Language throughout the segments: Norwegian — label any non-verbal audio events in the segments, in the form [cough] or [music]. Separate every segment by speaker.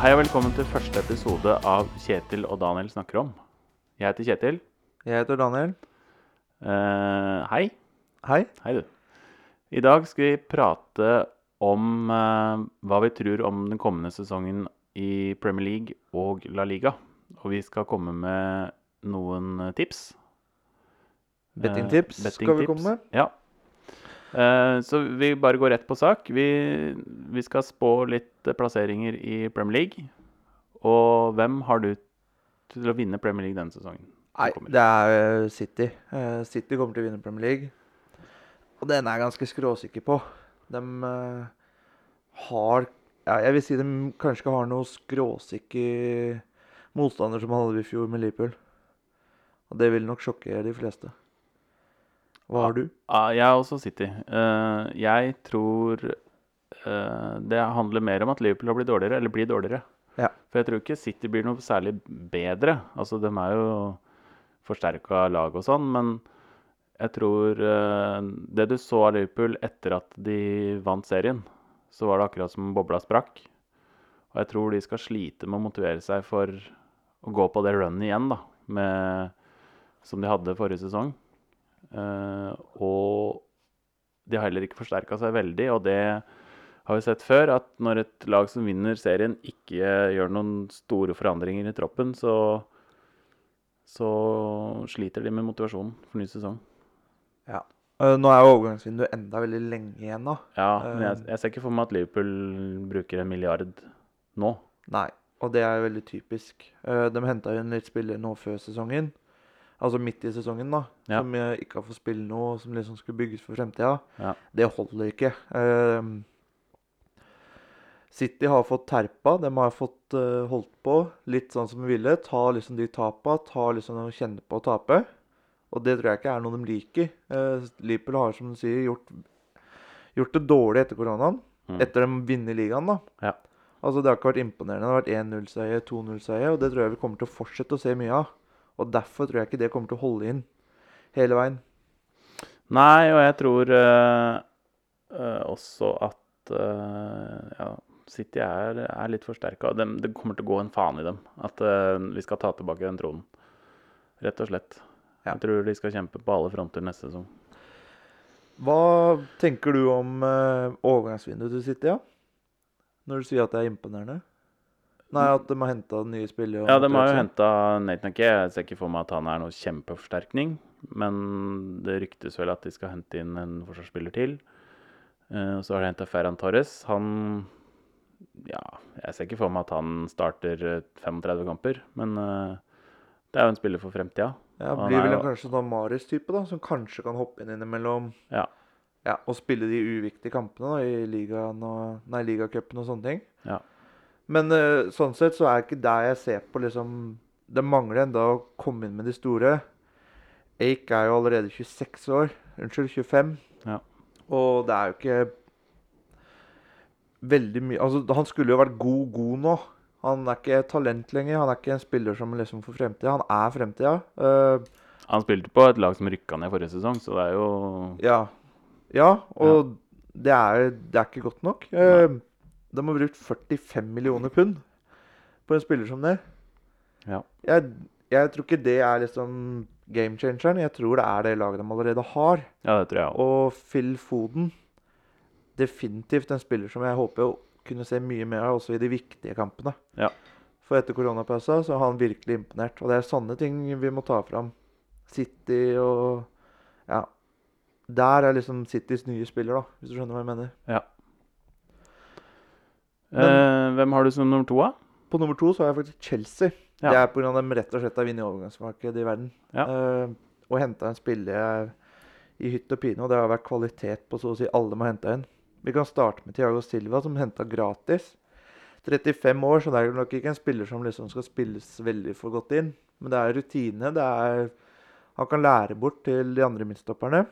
Speaker 1: Hei og velkommen til første episode av Kjetil og Daniel snakker om. Jeg heter Kjetil.
Speaker 2: Jeg heter Daniel.
Speaker 1: Eh, hei.
Speaker 2: Hei.
Speaker 1: Hei, du. I dag skal vi prate om eh, hva vi tror om den kommende sesongen i Premier League og La Liga. Og vi skal komme med noen tips.
Speaker 2: Bettingtips
Speaker 1: Eh,
Speaker 2: skal vi komme med.
Speaker 1: Ja. Eh, Så vi bare går rett på sak. Vi, vi skal spå litt eh, plasseringer i Premier League. Og hvem har du til å vinne Premier League denne sesongen?
Speaker 2: Nei,
Speaker 1: kommer.
Speaker 2: det er eh, City. Eh, City kommer til å vinne Premier League. Og den er jeg ganske skråsikker på. De har ja, Jeg vil si de kanskje ikke har noe skråsikker motstander som han hadde i fjor med Liverpool. Og det vil nok sjokkere de fleste. Hva har du?
Speaker 1: Ja, Ah, jeg er også City. Eh, Jeg tror eh, det handler mer om at Liverpool har blitt dårligere, eller blir dårligere.
Speaker 2: Ja.
Speaker 1: For jeg tror ikke City blir noe særlig bedre. Altså, de er jo forsterka lag og sånn, men jeg tror eh, Det du så av Liverpool etter at de vant serien, så var det akkurat som bobla sprakk. Og jeg tror de skal slite med å motivere seg for å gå på det runnet igjen, da, med, som de hadde forrige sesong. Eh, og de har heller ikke forsterka seg veldig, og det har vi sett før, at når et lag som vinner serien, ikke gjør noen store forandringer i troppen, så, så sliter de med motivasjonen for ny sesong.
Speaker 2: Eh, nå er jo overgangsvinduet enda veldig lenge igjen, da.
Speaker 1: Ja, men jeg, jeg ser ikke for meg at Liverpool bruker en milliard nå.
Speaker 2: Nei, og det er veldig typisk. Eh, De henta inn litt spillere nå før sesongen. Altså midt i sesongen, da.
Speaker 1: Ja.
Speaker 2: Som eh, ikke har fått spille noe, som liksom skulle bygges for fremtida.
Speaker 1: Ja.
Speaker 2: Det holder ikke. Eh, City har fått terpa, de har fått eh, holdt på litt sånn som de ville. Ta liksom de tapa, ta liksom de kjenner på å tape. Og det tror jeg ikke er noe de liker. Eh, Liverpool har, som du sier, gjort, gjort det dårlig etter koronaen.
Speaker 1: Mm.
Speaker 2: Etter de vinner ligaen, da.
Speaker 1: Ja.
Speaker 2: Altså, det har ikke vært imponerende. Det har vært 1-0-seier, 2-0-seier, og det tror jeg vi kommer til å fortsette å se mye av. Og derfor tror jeg ikke det kommer til å holde inn hele veien.
Speaker 1: Nei, og jeg tror eh, eh, også at eh, ja, City er, er litt forsterka. Det kommer til å gå en faen i dem at eh, vi skal ta tilbake den tronen. Rett og slett.
Speaker 2: Ja.
Speaker 1: Jeg tror de skal kjempe på alle fronter neste sesong.
Speaker 2: Hva tenker du om eh, overgangsvinduet til City, ja? Når du sier at det er imponerende? Nei, at de har henta nye spillere. og
Speaker 1: Ja, de har jo
Speaker 2: motivert seg.
Speaker 1: henta Nathan Ake. Jeg ser ikke for meg at han er noen kjempeforsterkning. Men det ryktes vel at de skal hente inn en forsvarsspiller til. Eh, Og så har de henta Ferran Torres. Han Ja, jeg ser ikke for meg at han starter eh, 35 kamper, men eh, det er jo en spiller for fremtida.
Speaker 2: Ja,
Speaker 1: Han
Speaker 2: blir
Speaker 1: er
Speaker 2: vel
Speaker 1: jo-
Speaker 2: en kanskje sånn Marius-type, da, som kanskje kan hoppe inn innimellom.
Speaker 1: Ja.
Speaker 2: Ja, og spille de uviktige kampene da, i ligaen og Nei, ligacupen og sånne ting.
Speaker 1: Ja.
Speaker 2: Men eh, sånn sett så er ikke der jeg ser på liksom Det mangler enda å komme inn med de store. Ake er jo allerede 26 år. Unnskyld, 25.
Speaker 1: Ja.
Speaker 2: Og det er jo ikke veldig mye Altså, han skulle jo vært god, god nå. Han er ikke talent lenger. Han er ikke en spiller som liksom for fremtida. Han er fremtida. Eh,
Speaker 1: Han spilte på et lag som rykka ned forrige sesong, så det er jo
Speaker 2: Ja. Ja, og Det, er, det er ikke godt nok. Eh, De har brukt 45 millioner pund på en spiller som det.
Speaker 1: Ja.
Speaker 2: Jeg, jeg tror ikke det er liksom game changeren. Jeg tror det er det laget de allerede har.
Speaker 1: Ja, det tror jeg òg.
Speaker 2: Og Phil Foden Definitivt en spiller som jeg håper å kunne se mye mer av også i de viktige kampene.
Speaker 1: Ja.
Speaker 2: For etter koronapausa så har han virkelig imponert. Og det er sånne ting vi må ta fram. City og Ja. Der er liksom Citys nye spiller, da, hvis du skjønner hva jeg mener.
Speaker 1: Ja.
Speaker 2: Men-
Speaker 1: Eh, hvem har du som nummer to, da?
Speaker 2: På nummer to så har jeg faktisk Chelsea.
Speaker 1: Ja.
Speaker 2: Det er pga. at de rett og slett har vunnet overgangsmarkedet i verden.
Speaker 1: Ja.
Speaker 2: Eh, og henta en spiller jeg- i hytt og pine, og det har vært kvalitet på så å si alle de har henta inn. Vi kan starte med Thiago Silva, som henta gratis. 35 år, så det er nok ikke en spiller som liksom skal spilles veldig for godt inn. Men det er rutine. det er... Han kan lære bort til de andre midtstopperne.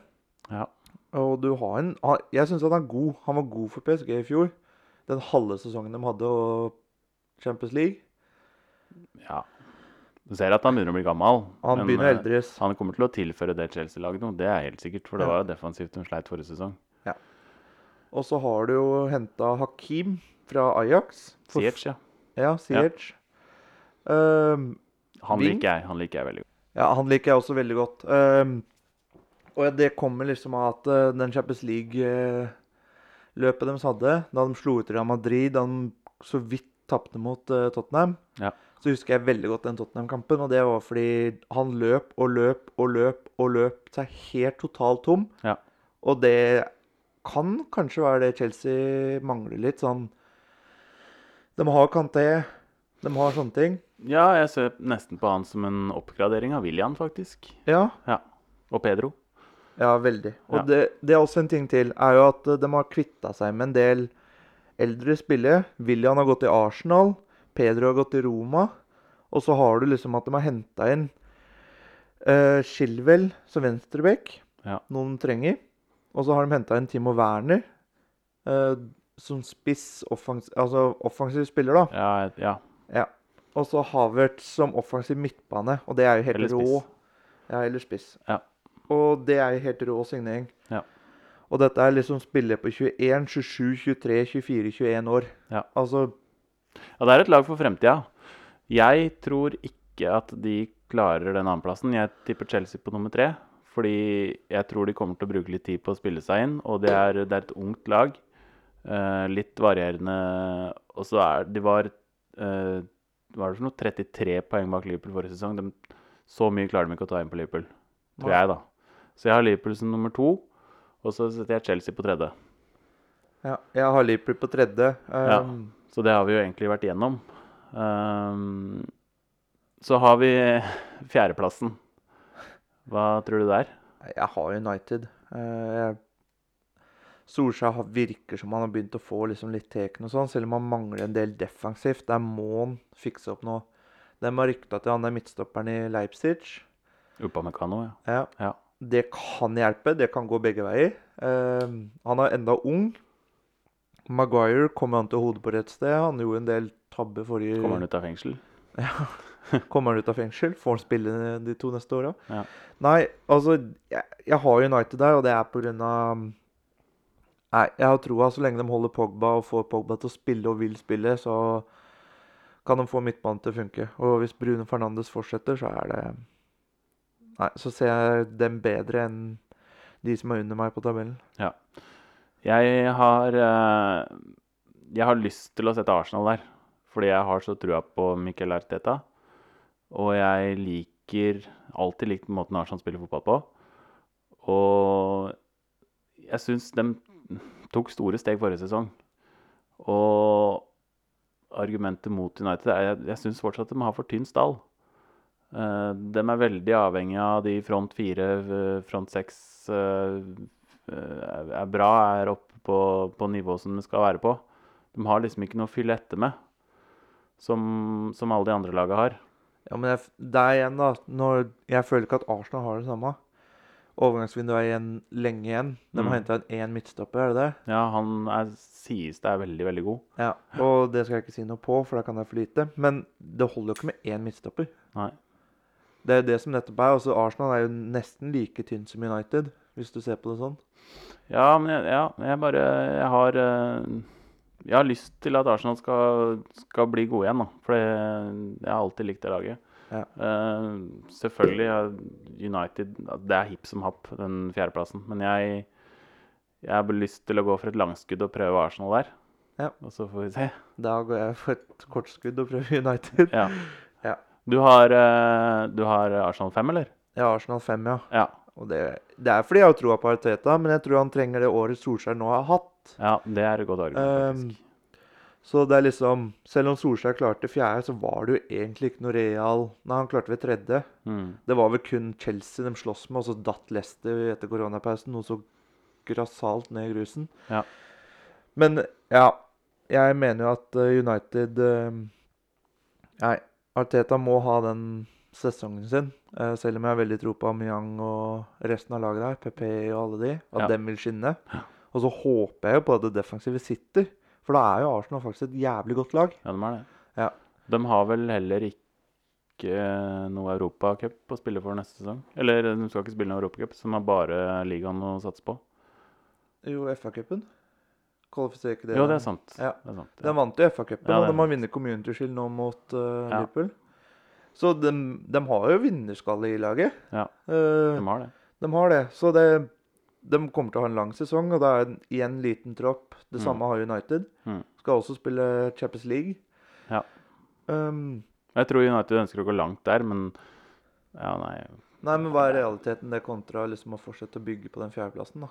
Speaker 1: Ja.
Speaker 2: Og du har en han- Jeg syns han er god. Han var god for PSG i fjor. Den halve sesongen de hadde og Champions League.
Speaker 1: Ja. Du ser at han begynner å bli gammel.
Speaker 2: Han
Speaker 1: men,
Speaker 2: begynner
Speaker 1: eh,
Speaker 2: å eldres.
Speaker 1: Han kommer til å tilføre det Chelsea-laget noe, det er helt sikkert. For det
Speaker 2: Ja.
Speaker 1: var jo defensivt hun sleit forrige sesong.
Speaker 2: Og så har du jo henta Hakim fra Ajax. For,
Speaker 1: Ziyech, ja.
Speaker 2: Ja, Siege. Ehm,
Speaker 1: Han
Speaker 2: Wing?
Speaker 1: liker jeg han liker jeg veldig godt.
Speaker 2: ja, han liker jeg også veldig godt. Ehm, og det kommer liksom av at eh, den Champions League-løpet deres hadde, da de slo ut Real Madrid, da de så vidt tapte mot eh, Tottenham,
Speaker 1: Ja.
Speaker 2: så husker jeg veldig godt den Tottenham-kampen. Og det var fordi han løp og løp og løp og løp seg helt totalt tom.
Speaker 1: Ja.
Speaker 2: Og det kan kanskje være det Chelsea mangler litt. sånn De har Kanté, de har sånne ting.
Speaker 1: ja, jeg ser nesten på han som en oppgradering av William, faktisk.
Speaker 2: Ja,
Speaker 1: Ja. Og Pedro.
Speaker 2: Ja, veldig. Og
Speaker 1: Ja.
Speaker 2: det, det er også en ting til, er jo at eh, de har kvitta seg med en del eldre spillere. William har gått til Arsenal, Pedro har gått til Roma. Og så har du liksom at de har henta inn uh, Shilwell som venstreback,
Speaker 1: Ja.
Speaker 2: noen de trenger. Og så har de henta inn Timo Werner eh, som spiss, offens altså offensiv spiller, da.
Speaker 1: Ja, jeg- ja.
Speaker 2: Ja. Og så Havertz som offensiv midtbane, og det er jo helt
Speaker 1: Eller
Speaker 2: rå.
Speaker 1: spiss.
Speaker 2: Ja, eller spiss.
Speaker 1: Ja.
Speaker 2: Og det er jo helt rå signering.
Speaker 1: Ja.
Speaker 2: Og dette er liksom spillere på 21, 27, 23, 24, 21 år.
Speaker 1: Ja.
Speaker 2: Altså
Speaker 1: Ja, det er et lag for fremtida. Jeg tror ikke at de klarer den andreplassen. Jeg tipper Chelsea på nummer tre. Fordi jeg tror de kommer til å bruke litt tid på å spille seg inn. Og det er, det er et ungt lag. eh, litt varierende. Og så er De var eh, Hva er det for noe? 33 poeng bak Liverpool forrige sesong. De, så mye klarer de ikke å ta inn på Liverpool. Tror
Speaker 2: Nei.
Speaker 1: jeg, da. Så jeg har Liverpool som nummer to. Og så setter jeg Chelsea på tredje.
Speaker 2: ja, Jeg har Liverpool på tredje.
Speaker 1: Ja.
Speaker 2: Um,
Speaker 1: Så det har vi jo egentlig vært igjennom. Ehm, så har vi [laughs] fjerdeplassen. Hva tror du der?
Speaker 2: Jeg har United. Eh, jeg- Solskjær har- virker som han har begynt å få liksom litt teken og sånn, selv om han mangler en del defensivt. Der må han fikse opp noe. De har rykta til han der midtstopperen i Leipzig.
Speaker 1: Upamecano, ja.
Speaker 2: Ja.
Speaker 1: Ja.
Speaker 2: Det kan hjelpe. Det kan gå begge veier. Eh, han er enda ung. Maguire kom han til hodet på rett sted. Han gjorde en del tabber forrige
Speaker 1: Kommer han ut av fengsel?
Speaker 2: Kommer han ut av fengsel? Får han spille de to neste åra?
Speaker 1: Ja.
Speaker 2: Nei, altså jeg, jeg har United der, og det er på grunn av Nei, jeg har troa så lenge de holder Pogba og får Pogba til å spille og vil spille, så kan de få midtbanen til å funke. Og hvis Bruno Fernandes fortsetter, så er det Nei, så ser jeg dem bedre enn de som er under meg på tabellen.
Speaker 1: Jeg har eh, Jeg har lyst til å sette Arsenal der. Fordi jeg har så trua på Miquel Arteta. Og jeg liker alltid likt måten Arsenal spiller fotball på. Og jeg syns de tok store steg forrige sesong. Og argumentet mot United er Jeg, jeg syns fortsatt de har for tynn stall. Eh, de er veldig avhengig av de front fire, eh, front seks eh, eh, er bra, er oppe på, på nivået som de skal være på. De har liksom ikke noe å fylle etter med, som, som alle de andre laga har.
Speaker 2: Ja, men jeg, f- der igjen, da. Når jeg føler ikke at Arsenal har det samme. Overgangsvinduet er igjen lenge igjen. De har
Speaker 1: Mm.
Speaker 2: henta inn én midtstopper, er det det?
Speaker 1: Ja, han er, sies det er veldig, veldig god.
Speaker 2: Ja, og det skal jeg ikke si noe på, for da kan jeg for lite. Men det holder jo ikke med én midtstopper.
Speaker 1: Nei.
Speaker 2: Det er jo det som nettopp er. Altså, Arsenal er jo nesten like tynn som United, hvis du ser på det sånn.
Speaker 1: Ja, men jeg, ja, jeg bare Jeg har eh, Jeg har lyst til at Arsenal skal, skal bli gode igjen, da. For det- jeg har alltid likt det laget.
Speaker 2: Ja.
Speaker 1: Eh, selvfølgelig ja, United Det er hipp som happ, den fjerdeplassen. Men jeg Jeg har bare lyst til å gå for et langskudd og prøve Arsenal der.
Speaker 2: Ja.
Speaker 1: Og så får vi se.
Speaker 2: Da går jeg for et kortskudd og prøver United.
Speaker 1: Ja.
Speaker 2: Ja.
Speaker 1: Du har, eh, du har Arsenal 5, eller?
Speaker 2: Ja, Arsenal 5, ja.
Speaker 1: Ja.
Speaker 2: Og det, det er fordi jeg har troa på Arteta, men jeg tror han trenger det året Solskjær nå har hatt.
Speaker 1: ja. Det er et godt argument,
Speaker 2: Ehm.
Speaker 1: faktisk.
Speaker 2: Så det er liksom Selv om Solskjær klarte fjerde, så var det jo egentlig ikke noe real Nei, han klarte ved tredje.
Speaker 1: Mm.
Speaker 2: Det var vel kun Chelsea de sloss med, og så datt Leicester etter koronapausen noe så grassat ned i grusen.
Speaker 1: Ja.
Speaker 2: Men ja, jeg mener jo at eh, United eh, Nei, Arteta må ha den sesongen sin. eh, Selv om jeg har veldig tro på Amyang og resten av laget der, PP og alle de, at
Speaker 1: Ja.
Speaker 2: dem vil skinne. Og så håper jeg jo på at det defensive sitter, for da er jo Arsenal faktisk et jævlig godt lag.
Speaker 1: Ja, de er det.
Speaker 2: Ja.
Speaker 1: De har vel heller ikke eh, noe Europacup å spille for neste sesong? Eller de skal ikke spille noe Europacup, som er bare ligaen å satse på.
Speaker 2: Jo, FA-cupen. kvalifiserer ikke det.
Speaker 1: Jo, det er sant.
Speaker 2: Ja.
Speaker 1: Det er sant
Speaker 2: De vant jo FA-cupen,
Speaker 1: Ja,
Speaker 2: og
Speaker 1: det
Speaker 2: de
Speaker 1: er
Speaker 2: har vunnet Community Shield nå mot eh,
Speaker 1: Ja.
Speaker 2: Liverpool. Så de, de har jo vinnerskalle i laget.
Speaker 1: Ja.
Speaker 2: Eh,
Speaker 1: De har det.
Speaker 2: de har det. Så det, de kommer til å ha en lang sesong, og det er en- igjen liten tropp. Det
Speaker 1: Mm.
Speaker 2: samme har United.
Speaker 1: Mm.
Speaker 2: Skal også spille Champions League.
Speaker 1: Ja.
Speaker 2: Um,
Speaker 1: Jeg tror United ønsker å gå langt der, men ja, nei.
Speaker 2: Nei, men hva er realiteten det kontra liksom å fortsette å bygge på den fjerdeplassen, da?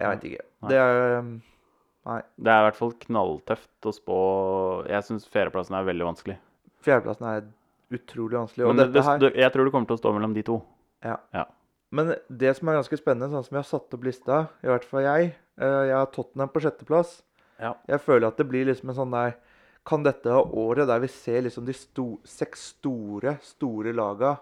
Speaker 2: Jeg veit ikke.
Speaker 1: Nei.
Speaker 2: Det er um,
Speaker 1: Det er i hvert fall knalltøft å spå Jeg syns fjerdeplassen er veldig vanskelig.
Speaker 2: Fjerdeplassen er utrolig vanskelig. Og
Speaker 1: Men det,
Speaker 2: dette her,
Speaker 1: det- jeg tror det kommer til å stå mellom de to.
Speaker 2: men det som er ganske spennende, sånn som jeg har satt opp lista, i hvert fall jeg eh, Jeg har Tottenham på sjetteplass.
Speaker 1: Ja.
Speaker 2: Jeg føler at det blir liksom en sånn der Kan dette være året der vi ser liksom de sto, seks store, store laga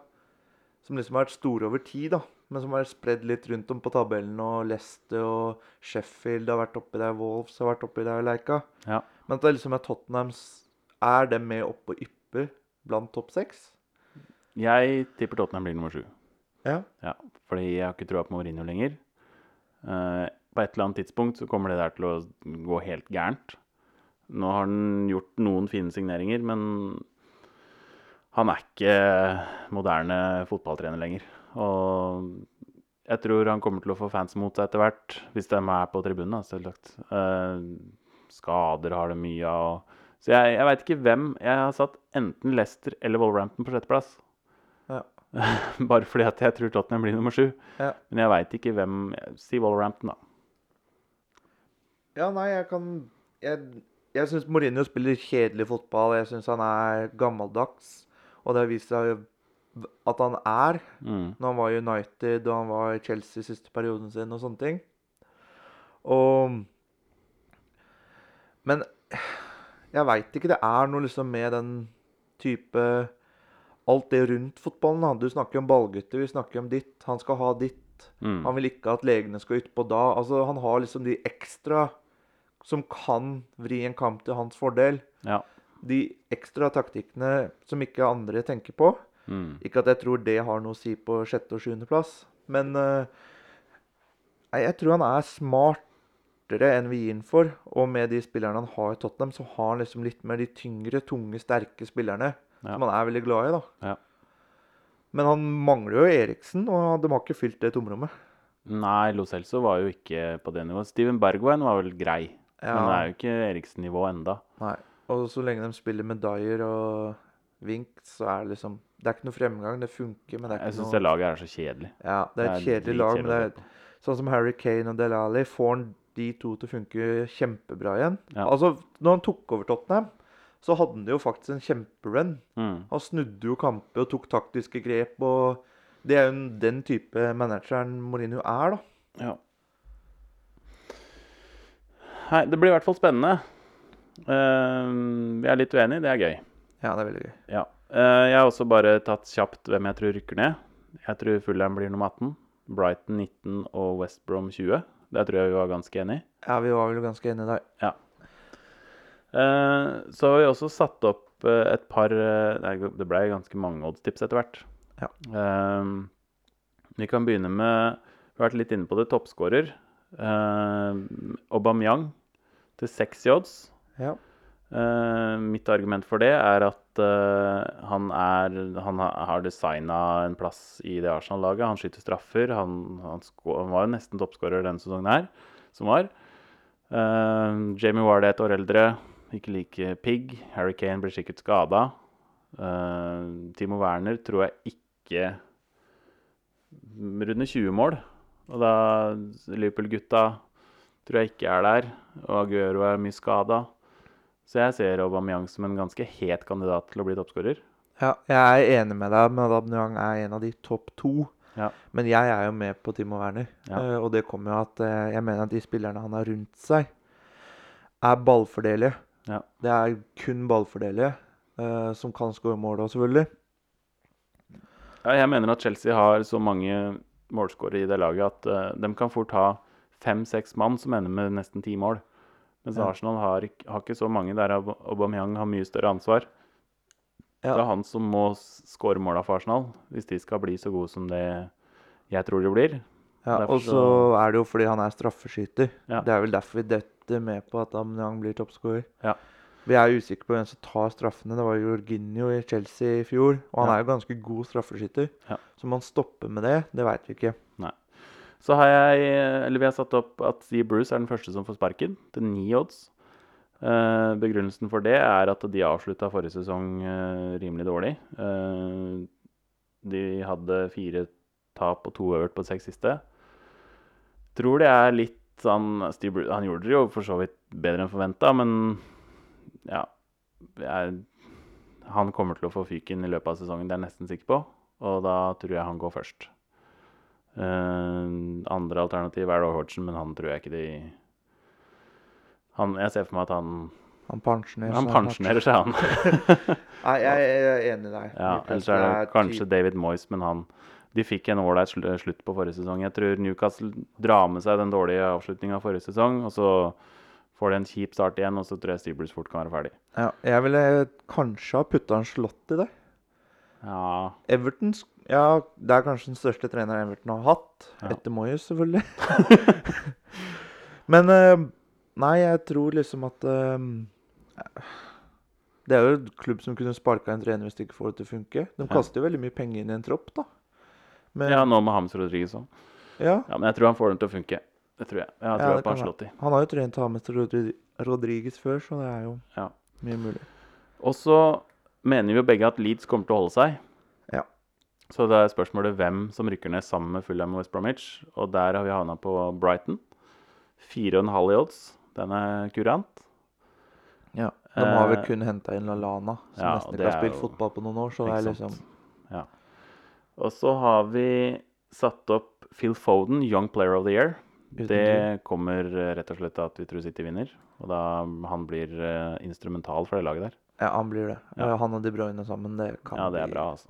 Speaker 2: som liksom har vært store over tid, da, men som er spredd litt rundt om på tabellen, og Leicester og Sheffield har vært oppi der, Wolves har vært oppi der, Leika.
Speaker 1: Ja.
Speaker 2: Men at det liksom er Tottenhams Er dem med opp og ypper blant topp seks?
Speaker 1: Jeg tipper Tottenham blir nummer sju.
Speaker 2: Ja.
Speaker 1: Ja, fordi jeg har ikke trua på Mourinho lenger. Eh, på et eller annet tidspunkt så kommer det der til å gå helt gærent. Nå har han gjort noen fine signeringer, men han er ikke moderne fotballtrener lenger. Og jeg tror han kommer til å få fans mot seg etter hvert, hvis de er på tribunen, da, selvsagt. Eh, skader har det mye av. Så jeg, jeg veit ikke hvem. Jeg har satt enten Leicester eller Wolverhampton på sjetteplass. [laughs]
Speaker 2: Ja.
Speaker 1: Bare fordi at jeg tror Tottenham blir nummer sju.
Speaker 2: Ja.
Speaker 1: Men jeg veit ikke hvem Si Wolverhampton, da.
Speaker 2: Ja, nei, jeg kan Jeg, jeg syns Mourinho spiller kjedelig fotball. Jeg syns han er gammeldags. Og det har vist seg jo at han er
Speaker 1: Mm.
Speaker 2: når han var i United og han var i Chelsea siste perioden sin og sånne ting. Og Men jeg veit ikke. Det er noe liksom med den type Alt det rundt fotballen. da. Du snakker om ballgutter, vi snakker om ditt. Han skal ha ditt.
Speaker 1: Mm.
Speaker 2: Han vil ikke at legene skal utpå da. Altså, han har liksom de ekstra som kan vri en kamp til hans fordel.
Speaker 1: Ja.
Speaker 2: De ekstra taktikkene som ikke andre tenker på.
Speaker 1: Mm.
Speaker 2: Ikke at jeg tror det har noe å si på sjette- og sjuendeplass, men eh, nei, jeg tror han er smartere enn vi gir ham for. Og med de spillerne han har i Tottenham, så har han liksom litt mer de tyngre, tunge, sterke spillerne.
Speaker 1: Ja.
Speaker 2: Som han er veldig glad i, da.
Speaker 1: Ja.
Speaker 2: Men han mangler jo Eriksen, og de har ikke fylt det tomrommet.
Speaker 1: Nei, Lo Celso var jo ikke på det nivået. Steven Bergwijn var vel grei, men det er jo ikke Eriksen-nivå enda.
Speaker 2: Nei. Og så lenge de spiller med Dyer og Wink, så er det liksom Det er ikke noe fremgang. Det funker, men det er
Speaker 1: Jeg
Speaker 2: ikke
Speaker 1: syns
Speaker 2: noe
Speaker 1: det laget er så kjedelig.
Speaker 2: Ja, det er et kjedelig lag, men det
Speaker 1: dritkjedelig
Speaker 2: er
Speaker 1: å se på.
Speaker 2: Sånn som Harry Kane og Dele Alli får han de to til å funke kjempebra igjen.
Speaker 1: Ja.
Speaker 2: Altså, når han tok over Tottenham, så hadde han jo faktisk en kjemperun.
Speaker 1: mm.
Speaker 2: Han snudde jo kamper og tok taktiske grep. og Det er jo en- den type manageren Mourinho er, da.
Speaker 1: Ja. Nei, det blir i hvert fall spennende. Eh, vi er litt uenige, det er gøy.
Speaker 2: Ja, det er veldig gøy.
Speaker 1: Ja. Eh, jeg har også bare tatt kjapt hvem jeg tror rykker ned. Jeg tror Fulham blir nummer 18, Brighton 19 og West Brom 20. Der tror jeg vi var ganske enige.
Speaker 2: Ja, Vi var vel ganske enige der.
Speaker 1: Eh, så har vi også satt opp eh, et par eh, nei, Det ble ganske mange oddstips etter hvert.
Speaker 2: Ja.
Speaker 1: Eh, vi kan begynne med Vi har vært litt inne på det. Toppskårer. Eh, Aubameyang til 60 odds.
Speaker 2: Ja.
Speaker 1: Eh, mitt argument for det er at eh, han, er, han ha- har designa en plass i det Arsenal-laget. Han skyter straffer. Han, han, sko han var jo nesten toppskårer denne sesongen her, som var. Eh, Jamie Ward er et år eldre, ikke like pigg. Harry Kane blir sikkert skada. Timo Werner tror jeg ikke runder 20 mål. Og da Liverpool-gutta tror jeg ikke er der. Og Aguero er mye skada. Så jeg ser Aubameyang som en ganske het kandidat til å bli toppskårer.
Speaker 2: ja. Jeg er enig med deg, men Abnyang er en av de topp to.
Speaker 1: Ja.
Speaker 2: Men jeg er jo med på Timo Werner.
Speaker 1: Ja.
Speaker 2: eh, Og det kommer jo at eh, jeg mener at de spillerne han har rundt seg, er ballfordelige.
Speaker 1: Ja.
Speaker 2: Det er kun ballfordelige eh, som kan skåre mål òg, selvfølgelig.
Speaker 1: Ja, jeg mener at Chelsea har så mange målskårere i det laget at eh, de kan fort ha fem-seks mann som ender med nesten ti mål. Mens
Speaker 2: Ja.
Speaker 1: Arsenal har, ikk- har ikke så mange der Aub- Aubameyang har mye større ansvar.
Speaker 2: Ja.
Speaker 1: Det er han som må s- skåre måla for Arsenal, hvis de skal bli så gode som det jeg tror de blir.
Speaker 2: Ja,
Speaker 1: Derfor
Speaker 2: og så
Speaker 1: så-
Speaker 2: er det jo fordi han er straffeskyter.
Speaker 1: Ja.
Speaker 2: Det er vel derfor vi det, lette med på at Amniang blir toppscorer.
Speaker 1: Ja.
Speaker 2: Vi er usikre på hvem som tar straffene. Det var jo Jorginho i Chelsea i fjor. Og han
Speaker 1: Ja.
Speaker 2: er jo ganske god straffeskytter.
Speaker 1: Ja.
Speaker 2: Så om han stopper med det, det veit vi ikke.
Speaker 1: Så har jeg, eller vi har satt opp at Steve Bruce er den første som får sparken, til ni odds. Eh, begrunnelsen for det er at de avslutta forrige sesong eh, rimelig dårlig. Eh, de hadde fire tap og to øvert på seks siste. Tror det er litt sånn Steve Bruce, Han gjorde det jo for så vidt bedre enn forventa, men ja jeg, Han kommer til å få fyken i løpet av sesongen, det er jeg nesten sikker på. Og da tror jeg han går først. Eh, andre alternativ er da Hodgson, men han tror jeg ikke de han, Jeg ser for meg at han
Speaker 2: Han pensjonerer
Speaker 1: Han
Speaker 2: seg hardt.
Speaker 1: pensjonerer seg, han.
Speaker 2: Nei, jeg er enig i deg.
Speaker 1: Ja,
Speaker 2: [laughs]
Speaker 1: Ellers
Speaker 2: Newcastle
Speaker 1: er det
Speaker 2: typ-
Speaker 1: kanskje David Moyes, men han De fikk en ålreit sl- slutt på forrige sesong. Jeg tror Newcastle drar med seg den dårlige avslutninga av forrige sesong, og så får de en kjip start igjen, og så tror jeg Steeblers fort kan være ferdig.
Speaker 2: ja, Jeg ville kanskje ha putta en slott i det.
Speaker 1: Ja,
Speaker 2: Everton sk- ja, det er kanskje den største treneren Everton har hatt.
Speaker 1: Ja.
Speaker 2: Etter Moyes, selvfølgelig. [laughs] Men eh, nei, jeg tror liksom at eh, Det er jo en klubb som kunne sparka en trener hvis de ikke får det til å funke. De kaster jo veldig mye penger inn i en tropp, da. Men,
Speaker 1: ja nå med Hams Rodriguez òg.
Speaker 2: ja,
Speaker 1: Ja, men jeg tror han får dem til å funke. Det tror jeg. Jeg har
Speaker 2: Ja,
Speaker 1: trua
Speaker 2: det
Speaker 1: på
Speaker 2: kan
Speaker 1: Ancelotti.
Speaker 2: han har jo trent Hamester Rodriguez før, så det er jo
Speaker 1: Ja.
Speaker 2: mye mulig.
Speaker 1: Og så mener vi jo begge at Leeds kommer til å holde seg.
Speaker 2: Ja.
Speaker 1: Så det er spørsmålet hvem som rykker ned sammen med Fulham og West Bromwich. Og der har vi havna på Brighton. 4,5 i odds. Den er kurant.
Speaker 2: Ja. De har vel
Speaker 1: Eh,
Speaker 2: kun henta inn LaLana, som
Speaker 1: ja,
Speaker 2: nesten
Speaker 1: og
Speaker 2: ikke
Speaker 1: det
Speaker 2: har
Speaker 1: er
Speaker 2: spilt
Speaker 1: jo-
Speaker 2: fotball på noen år. Så
Speaker 1: Ikke
Speaker 2: det er
Speaker 1: sant?
Speaker 2: liksom
Speaker 1: Ja. Og så har vi satt opp Phil Foden, Young Player of the Year.
Speaker 2: uten tvil.
Speaker 1: Det kommer eh, rett og slett av at vi tror City vinner. Og da han blir eh, instrumental for det laget der.
Speaker 2: Ja, han blir det.
Speaker 1: Ja.
Speaker 2: Eh, Han og De Bruyne sammen, det kan
Speaker 1: Ja, det er
Speaker 2: bli-
Speaker 1: bra, altså.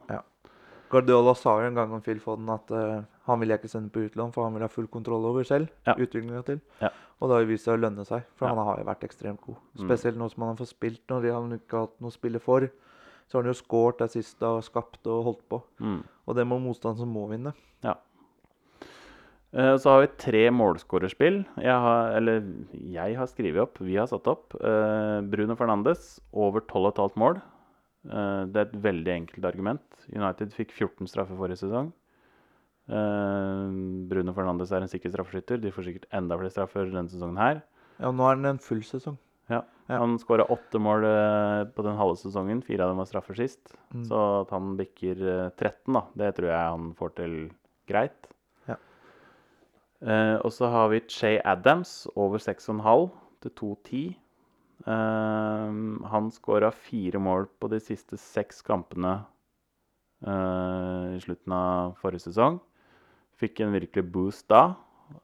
Speaker 2: Guardiola sa jo en gang om Phil Foden at eh, han ville jeg ikke sende på utlån, for han vil ha full kontroll over selv.
Speaker 1: Ja.
Speaker 2: utviklingen til.
Speaker 1: Ja.
Speaker 2: Og det har jo vist seg å lønne seg, for
Speaker 1: Ja.
Speaker 2: han har jo vært ekstremt god.
Speaker 1: Mm.
Speaker 2: Spesielt nå som han har fått spilt, når han ikke har hatt noe å spille for. Så har han jo skåret der sist og skapt og holdt på.
Speaker 1: Mm.
Speaker 2: Og det må motstanderen som må vinne.
Speaker 1: Eh, Så har vi tre målskårerspill. Jeg har, eller jeg har skrevet opp, vi har satt opp. eh, Bruno Fernandes over 12,5 mål. Eh, Det er et veldig enkelt argument. United fikk 14 straffer forrige sesong. Eh, Bruno Fernandes er en sikker straffeskytter. De får sikkert enda flere straffer denne sesongen her.
Speaker 2: Ja, nå er han en full sesong. Ja.
Speaker 1: Eh, Han skåra åtte mål eh, på den halve sesongen. Fire av dem var straffer sist.
Speaker 2: Mm.
Speaker 1: Så at han bikker eh, 13, da, det tror jeg han får til greit.
Speaker 2: Ja.
Speaker 1: Eh, og så har vi Che Adams over 6,5 til 2,10. Eh, han skåra fire mål på de siste seks kampene eh, i slutten av forrige sesong. Fikk en virkelig boost da.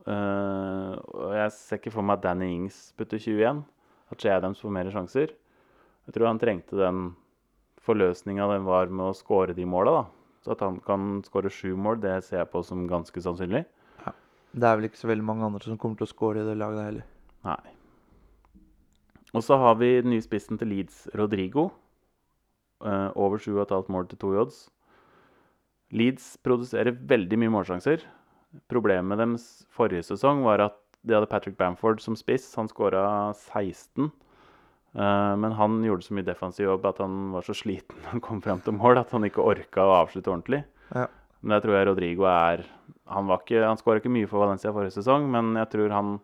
Speaker 1: Eh, og jeg ser ikke for meg at Danny Ings putter 21. At Che Adams får mer sjanser. Jeg tror han trengte den forløsninga den var med å skåre de måla, da. Så at han kan skåre sju mål, det ser jeg på som ganske sannsynlig.
Speaker 2: Det er vel ikke så veldig mange andre som kommer til å score i det laget der heller.
Speaker 1: Nei. Og så har vi den nye spissen til Leeds, Rodrigo. Eh, over 7,5 mål til 2 i odds. Leeds produserer veldig mye målsjanser. Problemet deres forrige sesong var at de hadde Patrick Bamford som spiss. Han skåra 16. Eh, men han gjorde så mye defensiv jobb at han var så sliten når han kom fram til mål at han ikke orka å avslutte ordentlig.
Speaker 2: Ja.
Speaker 1: Men jeg tror jeg Rodrigo er Han, var ikke- han skåra ikke mye for Valencia forrige sesong, men jeg tror han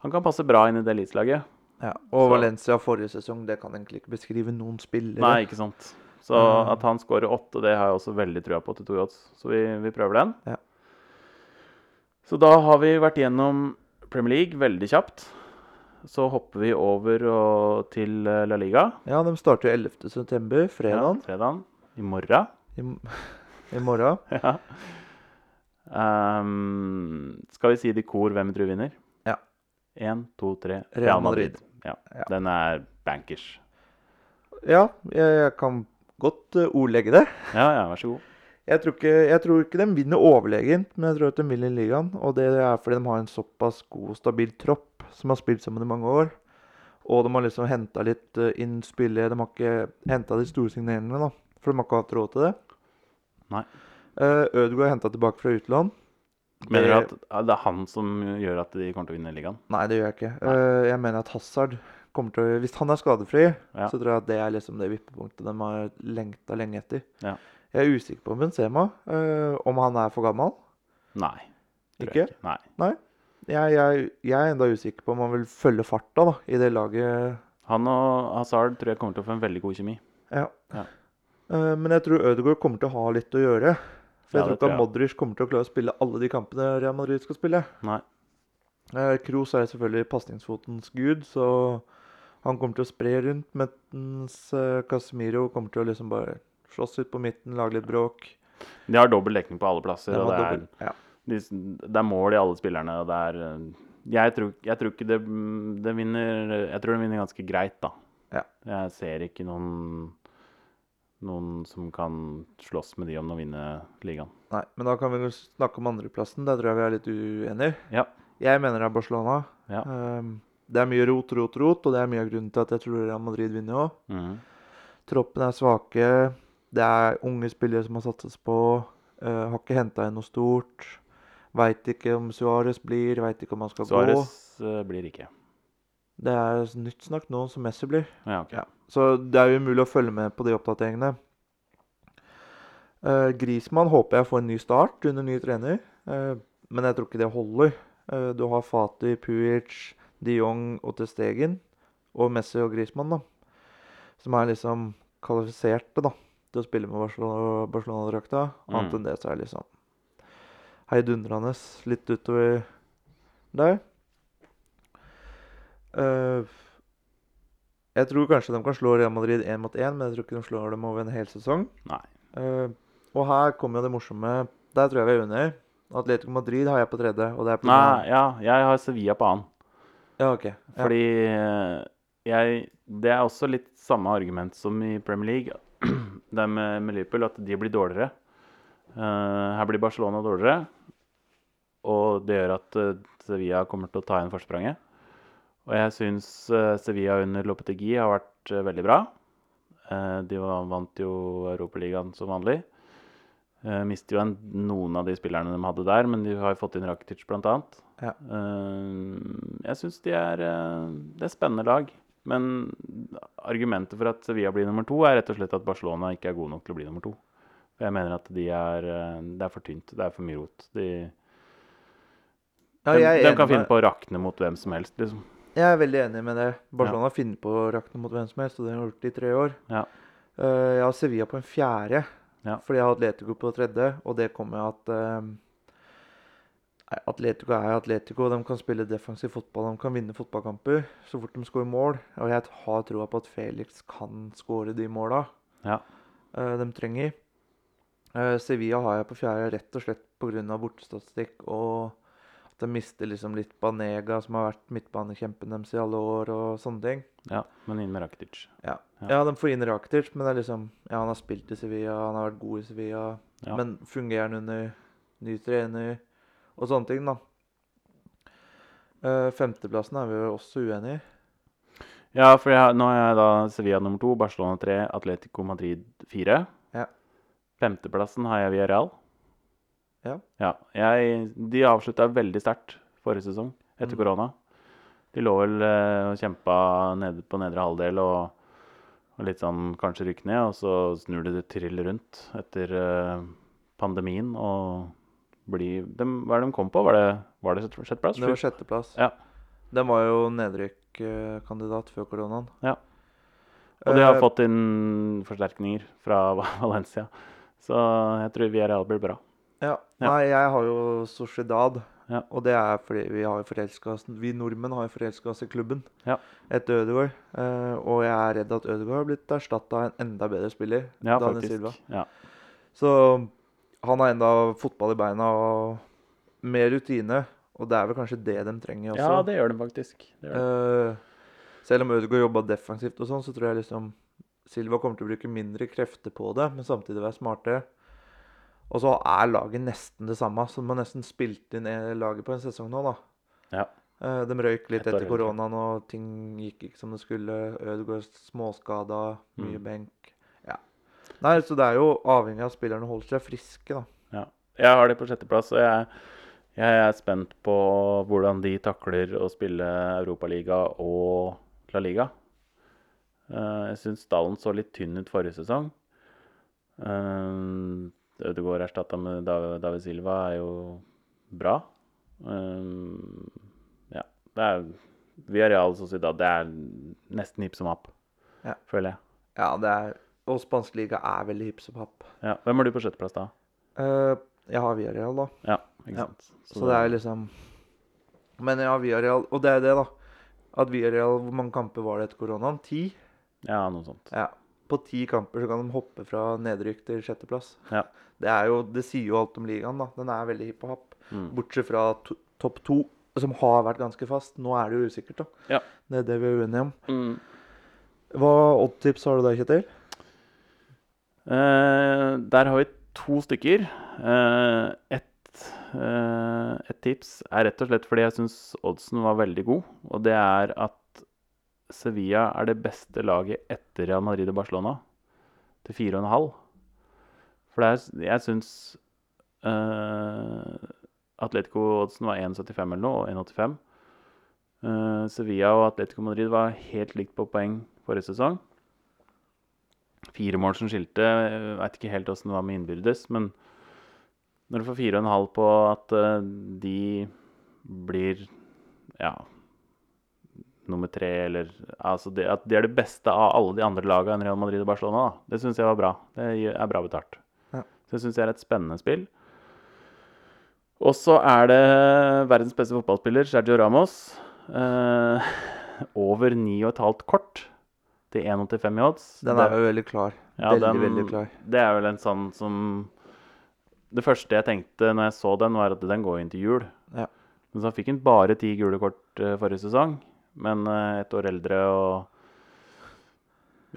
Speaker 1: han kan passe bra inn i det Leeds-laget.
Speaker 2: Ja.
Speaker 1: Så-
Speaker 2: Og Valencia forrige sesong, det kan egentlig ikke beskrive noen spillere.
Speaker 1: Nei, ikke sant. Så at han scorer åtte, det har jeg også veldig trua på til to odds. Så vi, vi prøver den.
Speaker 2: Ja.
Speaker 1: Så da har vi vært gjennom Premier League veldig kjapt. Så hopper vi over og til eh, La Liga.
Speaker 2: Ja, de starter jo 11. september, fredagen.
Speaker 1: Ja, fredagen. I morgen.
Speaker 2: I, m- [laughs] I morgen.
Speaker 1: Ja. Ehm, skal vi si det i kor hvem vi tror vinner?
Speaker 2: Ja.
Speaker 1: Én, to, tre.
Speaker 2: Real
Speaker 1: Ja.
Speaker 2: Ja.
Speaker 1: Den er bankers.
Speaker 2: Ja, jeg, jeg kan godt eh, ordlegge det.
Speaker 1: Ja, ja, vær så god.
Speaker 2: Jeg tror, ikke, jeg tror ikke de vinner overlegent, men jeg tror at de vinner ligaen. Og det er fordi de har en såpass god og stabil tropp som har spilt sammen i mange år. Og de har liksom henta litt eh, inn spillere. De har ikke henta de store signeringene, da. For de har ikke hatt råd til det. Eh,
Speaker 1: Nei.
Speaker 2: Uh, Ødegaard er henta tilbake fra utland.
Speaker 1: Mener du at ah, det er han som gjør at de kommer til å vinne ligaen?
Speaker 2: Nei, det gjør jeg ikke. Eh, jeg mener at Hazard kommer til å Hvis han er skadefri,
Speaker 1: Ja.
Speaker 2: så tror jeg at det er liksom det vippepunktet de har lengta lenge etter.
Speaker 1: Ja.
Speaker 2: Jeg er usikker på Benzema, eh, om han er for gammel.
Speaker 1: Nei. tror
Speaker 2: Ikke?
Speaker 1: jeg Nei.
Speaker 2: Jeg, jeg, jeg er enda usikker på om han vil følge farta da, i det laget.
Speaker 1: Han og Hazard tror jeg kommer til å få en veldig god kjemi.
Speaker 2: Ja.
Speaker 1: Ja.
Speaker 2: Eh, men jeg tror Ødegaard kommer til å ha litt å gjøre. For
Speaker 1: Ja,
Speaker 2: jeg tror
Speaker 1: det
Speaker 2: ikke
Speaker 1: tror jeg.
Speaker 2: at Modric kommer til å klare å spille alle de kampene Real Madrid skal spille.
Speaker 1: Nei.
Speaker 2: Eh, Kroos er selvfølgelig pasningsfotens gud, så han kommer til å spre rundt, mens eh, Casemiro kommer til å liksom bare slåss ut på midten, lage litt bråk.
Speaker 1: De har dobbel dekning på alle plasser,
Speaker 2: Den
Speaker 1: og
Speaker 2: var
Speaker 1: det er,
Speaker 2: dobbelt- ja.
Speaker 1: de, det er mål i alle spillerne. og Det er, eh, jeg, tror, jeg tror ikke det, det vinner Jeg tror det vinner ganske greit, da.
Speaker 2: Ja.
Speaker 1: Jeg ser ikke noen noen som kan slåss med de om å vinne ligaen.
Speaker 2: Nei, men da kan vi jo snakke om andreplassen. Der tror jeg vi er litt uenige.
Speaker 1: Ja.
Speaker 2: Jeg mener det er Barcelona.
Speaker 1: Ja.
Speaker 2: Ehm, det er mye rot, rot, rot, og det er mye av grunnen til at jeg tror Real Madrid vinner òg.
Speaker 1: Mhm.
Speaker 2: Troppen er svake. Det er unge spillere som har satses på. eh, har ikke henta inn noe stort. Veit ikke om Suárez blir, veit ikke om han skal gå.
Speaker 1: Suárez eh, blir ikke.
Speaker 2: Det er nytt snakk nå som Messi blir.
Speaker 1: Ja, ok.
Speaker 2: Ja. Så det er jo umulig å følge med på de oppdateringene. Uh, Grismann håper jeg får en ny start under ny trener, eh, men jeg tror ikke det holder. Eh, du har Fati, Puic, de Jong og Ter Stegen, og Messi og Grismann, da. Som er liksom kvalifiserte da, til å spille med Barcelona- Barcelona-drakta. Annet
Speaker 1: Mm.
Speaker 2: enn det så er det liksom heidundrende litt utover der. Eh, jeg tror kanskje de kan slå Real Madrid én mot én, men jeg tror ikke de slår dem over en hel sesong.
Speaker 1: Nei.
Speaker 2: Eh, og her kommer jo det morsomme Der tror jeg vi er under. Atletico Madrid har jeg på tredje. Og det er på grunn av-
Speaker 1: Nei, ja, jeg har Sevilla på annen.
Speaker 2: Ja, ok. Ja.
Speaker 1: Fordi eh, jeg Det er også litt samme argument som i Premier League. [clears throat] Det er med, med Liverpool at de blir dårligere. Eh, her blir Barcelona dårligere. Og det gjør at eh, Sevilla kommer til å ta igjen forspranget. Og jeg syns eh, Sevilla under Lopetegui har vært eh, veldig bra. Eh, de var- vant jo Europaligaen som vanlig. Uh, Mister jo en, noen av de spillerne de hadde der, men de har jo fått inn Rakitic bl.a.
Speaker 2: Ja.
Speaker 1: Eh, jeg syns de er eh, Det er spennende lag. Men argumentet for at Sevilla blir nummer to, er rett og slett at Barcelona ikke er gode nok til å bli nummer to. For Jeg mener at de er, eh, det er for tynt. Det er for mye rot. De,
Speaker 2: ja,
Speaker 1: de,
Speaker 2: jeg, er
Speaker 1: de
Speaker 2: enig
Speaker 1: kan
Speaker 2: med-
Speaker 1: finne på å rakne mot hvem som helst, liksom.
Speaker 2: jeg er veldig enig med det. Barcelona finner på å rakne mot hvem som helst, og det har de gjort i tre år.
Speaker 1: Ja.
Speaker 2: Eh, jeg har Sevilla på en fjerde,
Speaker 1: Ja.
Speaker 2: fordi jeg har Atletico på tredje, og det kommer av at eh, nei, Atletico er Atletico. De kan spille defensiv fotball, de kan vinne fotballkamper så fort de skårer mål. Og jeg har troa på at Felix kan skåre de måla.
Speaker 1: Ja.
Speaker 2: eh, de trenger. Eh, Sevilla har jeg på fjerde rett og slett pga. bortestatistikk og at de mister liksom litt Banega, som har vært midtbanekjempen deres i alle år, og sånne ting.
Speaker 1: Ja, men inn med Rakitic.
Speaker 2: Ja,
Speaker 1: Ja.
Speaker 2: ja de får inn Rakitic, men det er liksom Ja, han har spilt i Sevilla, han har vært god i Sevilla,
Speaker 1: Ja.
Speaker 2: men fungerer han under ny trener og sånne ting, da. Eh, femteplassen er vi jo også uenig i.
Speaker 1: Ja, for jeg, har- nå er jeg da Sevilla nummer to, Barcelona tre, Atletico Madrid fire.
Speaker 2: Ja.
Speaker 1: Femteplassen har jeg Villarreal.
Speaker 2: Ja.
Speaker 1: ja jeg, de avslutta veldig sterkt forrige sesong, etter
Speaker 2: Mm.
Speaker 1: korona. De lå vel eh, og kjempa nede på nedre halvdel og, og litt sånn kanskje rykke ned, og så snur de det trill rundt etter eh, pandemien og blir de, Hva er det de kom på? Var det, var det sjette- sjetteplass?
Speaker 2: Det var sjetteplass.
Speaker 1: Ja.
Speaker 2: Den var jo nedrykkskandidat før koronaen.
Speaker 1: Ja. Og de har
Speaker 2: Eh,
Speaker 1: fått inn forsterkninger fra [laughs] Valencia. Så jeg tror Villarreal blir bra.
Speaker 2: Ja.
Speaker 1: Ja.
Speaker 2: Nei, jeg har jo Sociedad.
Speaker 1: Ja.
Speaker 2: Og det er fordi vi har jo forelska oss Vi nordmenn har jo forelska oss i klubben
Speaker 1: Ja.
Speaker 2: etter Ødegaard. Eh, og jeg er redd at Ødegaard har blitt erstatta av en enda bedre spiller.
Speaker 1: Ja,
Speaker 2: Daniel
Speaker 1: faktisk.
Speaker 2: Silva.
Speaker 1: Ja.
Speaker 2: Så han har enda fotball i beina og mer rutine. Og det er vel kanskje det de trenger også.
Speaker 1: ja, det gjør de faktisk. Det gjør de.
Speaker 2: Eh, selv om Ødegaard jobba defensivt, og sånn, så tror jeg liksom Silva kommer til å bruke mindre krefter på det, men samtidig være smartere. Og så er laget nesten det samme, så de har nesten spilt inn eh, laget på en sesong nå, da.
Speaker 1: Ja.
Speaker 2: Eh, de røyk litt
Speaker 1: Et år
Speaker 2: etter
Speaker 1: eldre.
Speaker 2: koronaen, og ting gikk ikke som det skulle. Ødegaard småskada, mye
Speaker 1: Mm.
Speaker 2: benk. Ja. Nei, så det er jo avhengig av at spillerne holder seg friske, da.
Speaker 1: Jeg har de på sjetteplass, og jeg, Jeg er spent på hvordan de takler å spille Europaliga og La Liga. Eh, Jeg syns stallen så litt tynn ut forrige sesong. Eh, Ødegaard erstatta med Dav- David Silva er jo bra. Eh, Ja. Det er Villarreal Sociedad. Det er nesten hipp som happ,
Speaker 2: Ja.
Speaker 1: føler jeg.
Speaker 2: Ja, det er Og spansk liga er veldig hipp som happ.
Speaker 1: Ja. Hvem har du på sjetteplass da?
Speaker 2: Eh, jeg har Villarreal, da.
Speaker 1: Ja, ikke
Speaker 2: Ja.
Speaker 1: sant.
Speaker 2: Så det er liksom Men ja, Villarreal Og det er det, da. At Villarreal Hvor mange kamper var det etter koronaen? Ti?
Speaker 1: Ja, noe sånt.
Speaker 2: Ja. På ti kamper så kan de hoppe fra nedrykk til sjetteplass.
Speaker 1: Ja.
Speaker 2: Det, er jo, det sier jo alt om ligaen, da. Den er veldig hipp og happ.
Speaker 1: Mm.
Speaker 2: Bortsett fra to, topp to, som har vært ganske fast. Nå er det jo usikkert, da.
Speaker 1: Ja.
Speaker 2: Det er det vi er uenige om.
Speaker 1: Mm.
Speaker 2: Hva oddtips har du da, Kjetil?
Speaker 1: Eh, der har vi to stykker. Eh, ett eh, et tips er rett og slett fordi jeg syns oddsen var veldig god. Og det er at Sevilla er det beste laget etter Real Madrid og Barcelona. Til 4,5. For det er, jeg syns eh, Atletico-oddsen var 1,75 eller noe, og 1,85. Eh, Sevilla og Atletico Madrid var helt likt på poeng forrige sesong fire mål som skilte. Jeg vet ikke helt åssen det var med innbyrdes, men når du får fire og en halv på at eh, de blir ja nummer tre, eller altså det, At de er det beste av alle de andre lagene enn Real Madrid og Barcelona, da. det syns jeg var bra. Det gir- er bra betalt.
Speaker 2: Ja.
Speaker 1: Så jeg syns det er et spennende spill. Og så er det verdens beste fotballspiller, Sergio Ramos. Eh, over 9,5 kort til 1,85 i odds.
Speaker 2: Den
Speaker 1: Det-
Speaker 2: er jo veldig klar. veldig, veldig klar.
Speaker 1: det er vel en sånn som Det første jeg tenkte når jeg så den, var at den går inn til jul.
Speaker 2: Ja.
Speaker 1: Men så fikk han bare ti gule kort eh, forrige sesong. Men eh, et år eldre og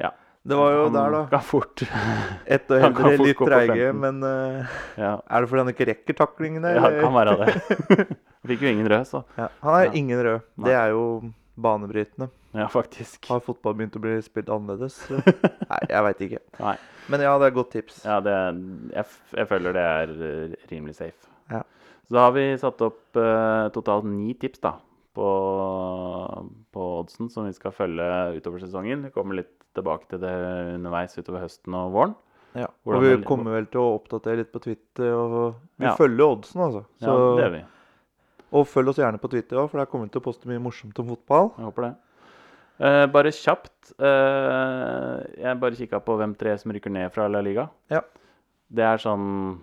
Speaker 1: Ja.
Speaker 2: Det var jo
Speaker 1: han
Speaker 2: der, da.
Speaker 1: Kan fort. [laughs]
Speaker 2: Ett og
Speaker 1: Han kan
Speaker 2: eldre,
Speaker 1: fort
Speaker 2: litt
Speaker 1: gå på
Speaker 2: treige,
Speaker 1: 15.
Speaker 2: men eh,
Speaker 1: ja,
Speaker 2: er det fordi han ikke rekker taklingene?
Speaker 1: ja,
Speaker 2: eller?
Speaker 1: kan være det.
Speaker 2: [laughs]
Speaker 1: Han fikk jo ingen rød, så.
Speaker 2: Ja, han er
Speaker 1: Ja.
Speaker 2: ingen rød.
Speaker 1: Nei.
Speaker 2: Det er jo banebrytende.
Speaker 1: Ja, faktisk.
Speaker 2: Har fotball begynt å bli spilt annerledes?
Speaker 1: [laughs]
Speaker 2: Nei, jeg veit ikke.
Speaker 1: Nei.
Speaker 2: Men ja, det er et godt tips.
Speaker 1: Ja, det, jeg, f- jeg føler det er eh, rimelig safe.
Speaker 2: Ja.
Speaker 1: Så da har vi satt opp eh, totalt ni tips da, på, på oddsen som vi skal følge utover sesongen. Vi kommer litt tilbake til det underveis utover høsten og våren.
Speaker 2: Ja.
Speaker 1: Hvordan
Speaker 2: Og vi
Speaker 1: er-
Speaker 2: kommer vel til å oppdatere litt på Twitter. Og vi
Speaker 1: Ja.
Speaker 2: følger oddsen, altså.
Speaker 1: Ja,
Speaker 2: Så-
Speaker 1: det gjør vi.
Speaker 2: og følg oss gjerne på Twitter òg, for der kommer vi til å poste mye morsomt om fotball.
Speaker 1: Jeg håper det. Eh, bare kjapt eh, Jeg bare kikka på hvem tre som rykker ned fra La Liga.
Speaker 2: Ja.
Speaker 1: Det er sånn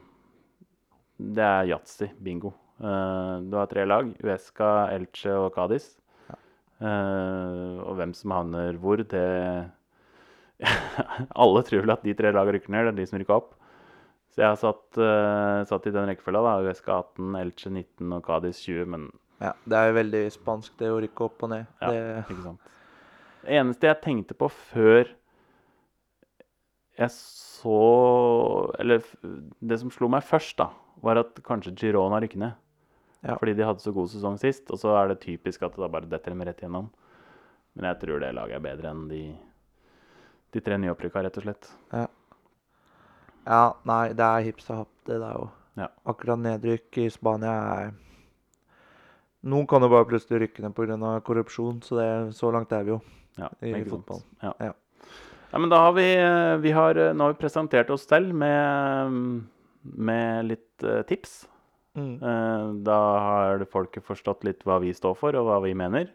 Speaker 1: Det er yatzy, bingo. Eh, du har tre lag. Uesca, Elche og Cádiz. Eh, og hvem som havner hvor, det [laughs] Alle tror vel at de tre lagene rykker ned. Det er de som rykker opp. Så jeg har satt, eh, satt i den rekkefølga. da, Uesca 18, Elche 19 og Cádiz 20. Men
Speaker 2: Ja, Det er jo veldig spansk, det å rykke opp og ned.
Speaker 1: Ja.
Speaker 2: Det,
Speaker 1: ikke sant? Det eneste jeg tenkte på før jeg så Eller f- det som slo meg først, da, var at kanskje Girona rykker ned.
Speaker 2: Ja.
Speaker 1: Fordi de hadde så god sesong sist, og så er det typisk at det da bare detter dem rett gjennom. Men jeg tror det laget er bedre enn de, de tre nyopprykka, rett og slett.
Speaker 2: ja, nei, det er hips og happ, det der òg.
Speaker 1: Ja.
Speaker 2: Akkurat nedrykk i Spania er Noen kan jo bare plutselig rykke ned pga. korrupsjon, så det, så langt er vi jo.
Speaker 1: Ja,
Speaker 2: I
Speaker 1: ikke sant.
Speaker 2: fotball.
Speaker 1: Ja.
Speaker 2: Ja.
Speaker 1: Nei, men da har vi, vi har, eh, Nå har vi presentert oss selv med, med litt eh, tips.
Speaker 2: Mm.
Speaker 1: Eh, Da har folket forstått litt hva vi står for, og hva vi mener.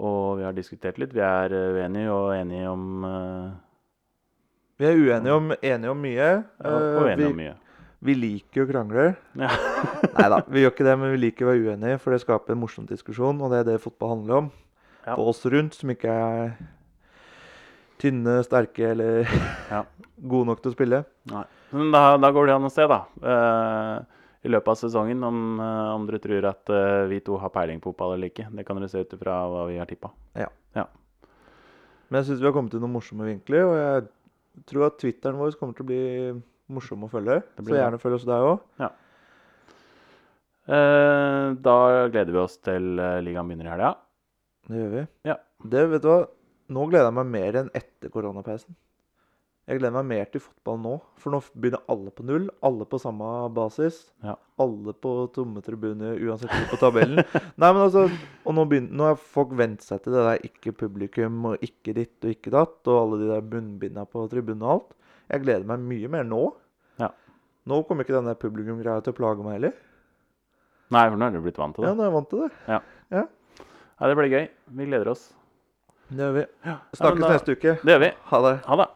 Speaker 1: Og vi har diskutert litt. Vi er eh, uenige og enige om eh,
Speaker 2: Vi er uenige om, enige om mye.
Speaker 1: Og og
Speaker 2: Eh,
Speaker 1: enige
Speaker 2: vi,
Speaker 1: om mye.
Speaker 2: vi liker jo krangler. [laughs]
Speaker 1: Ja.
Speaker 2: Nei da, vi gjør ikke det, men vi liker å være uenige, for det skaper en morsom diskusjon, og det er det fotball handler om.
Speaker 1: Ja.
Speaker 2: På oss rundt, som ikke er tynne, sterke eller
Speaker 1: Ja.
Speaker 2: [laughs] gode nok til å spille.
Speaker 1: Nei. Men da, da går det an å se, da. eh, I løpet av sesongen, om, eh, om dere tror at eh, vi to har peiling på fotball eller ikke. Det kan dere se ut ifra hva vi har tippa.
Speaker 2: Men jeg syns vi har kommet til noen morsomme vinkler, og jeg tror at Twitteren vår kommer til å bli morsom å følge.
Speaker 1: Det
Speaker 2: Så
Speaker 1: blir bra.
Speaker 2: gjerne følg oss der òg.
Speaker 1: Eh, Da gleder vi oss til eh, ligaen begynner i helga.
Speaker 2: Det gjør vi.
Speaker 1: Ja.
Speaker 2: Det, vet du hva, nå gleder jeg meg mer enn etter koronapausen. Jeg gleder meg mer til fotball nå, for nå begynner alle på null. Alle på samme basis.
Speaker 1: Ja.
Speaker 2: Alle på tomme tribuner, uansett hvor på tabellen. [laughs] Nei, men altså, og nå, begynner, nå har folk vent seg til det der ikke publikum og ikke ditt og ikke datt, og alle de der bunnbinda på tribunen og alt. Jeg gleder meg mye mer nå.
Speaker 1: Ja.
Speaker 2: Nå kommer ikke denne publikumgreia til å plage meg heller.
Speaker 1: Nei, for nå er du blitt vant til
Speaker 2: Ja,
Speaker 1: det.
Speaker 2: nå er jeg vant til det.
Speaker 1: Nei, det blir gøy. Vi gleder oss.
Speaker 2: Det gjør vi.
Speaker 1: Ja, men
Speaker 2: Snakkes
Speaker 1: da-
Speaker 2: neste uke.
Speaker 1: Det gjør vi.
Speaker 2: Ha det.
Speaker 1: Ha det.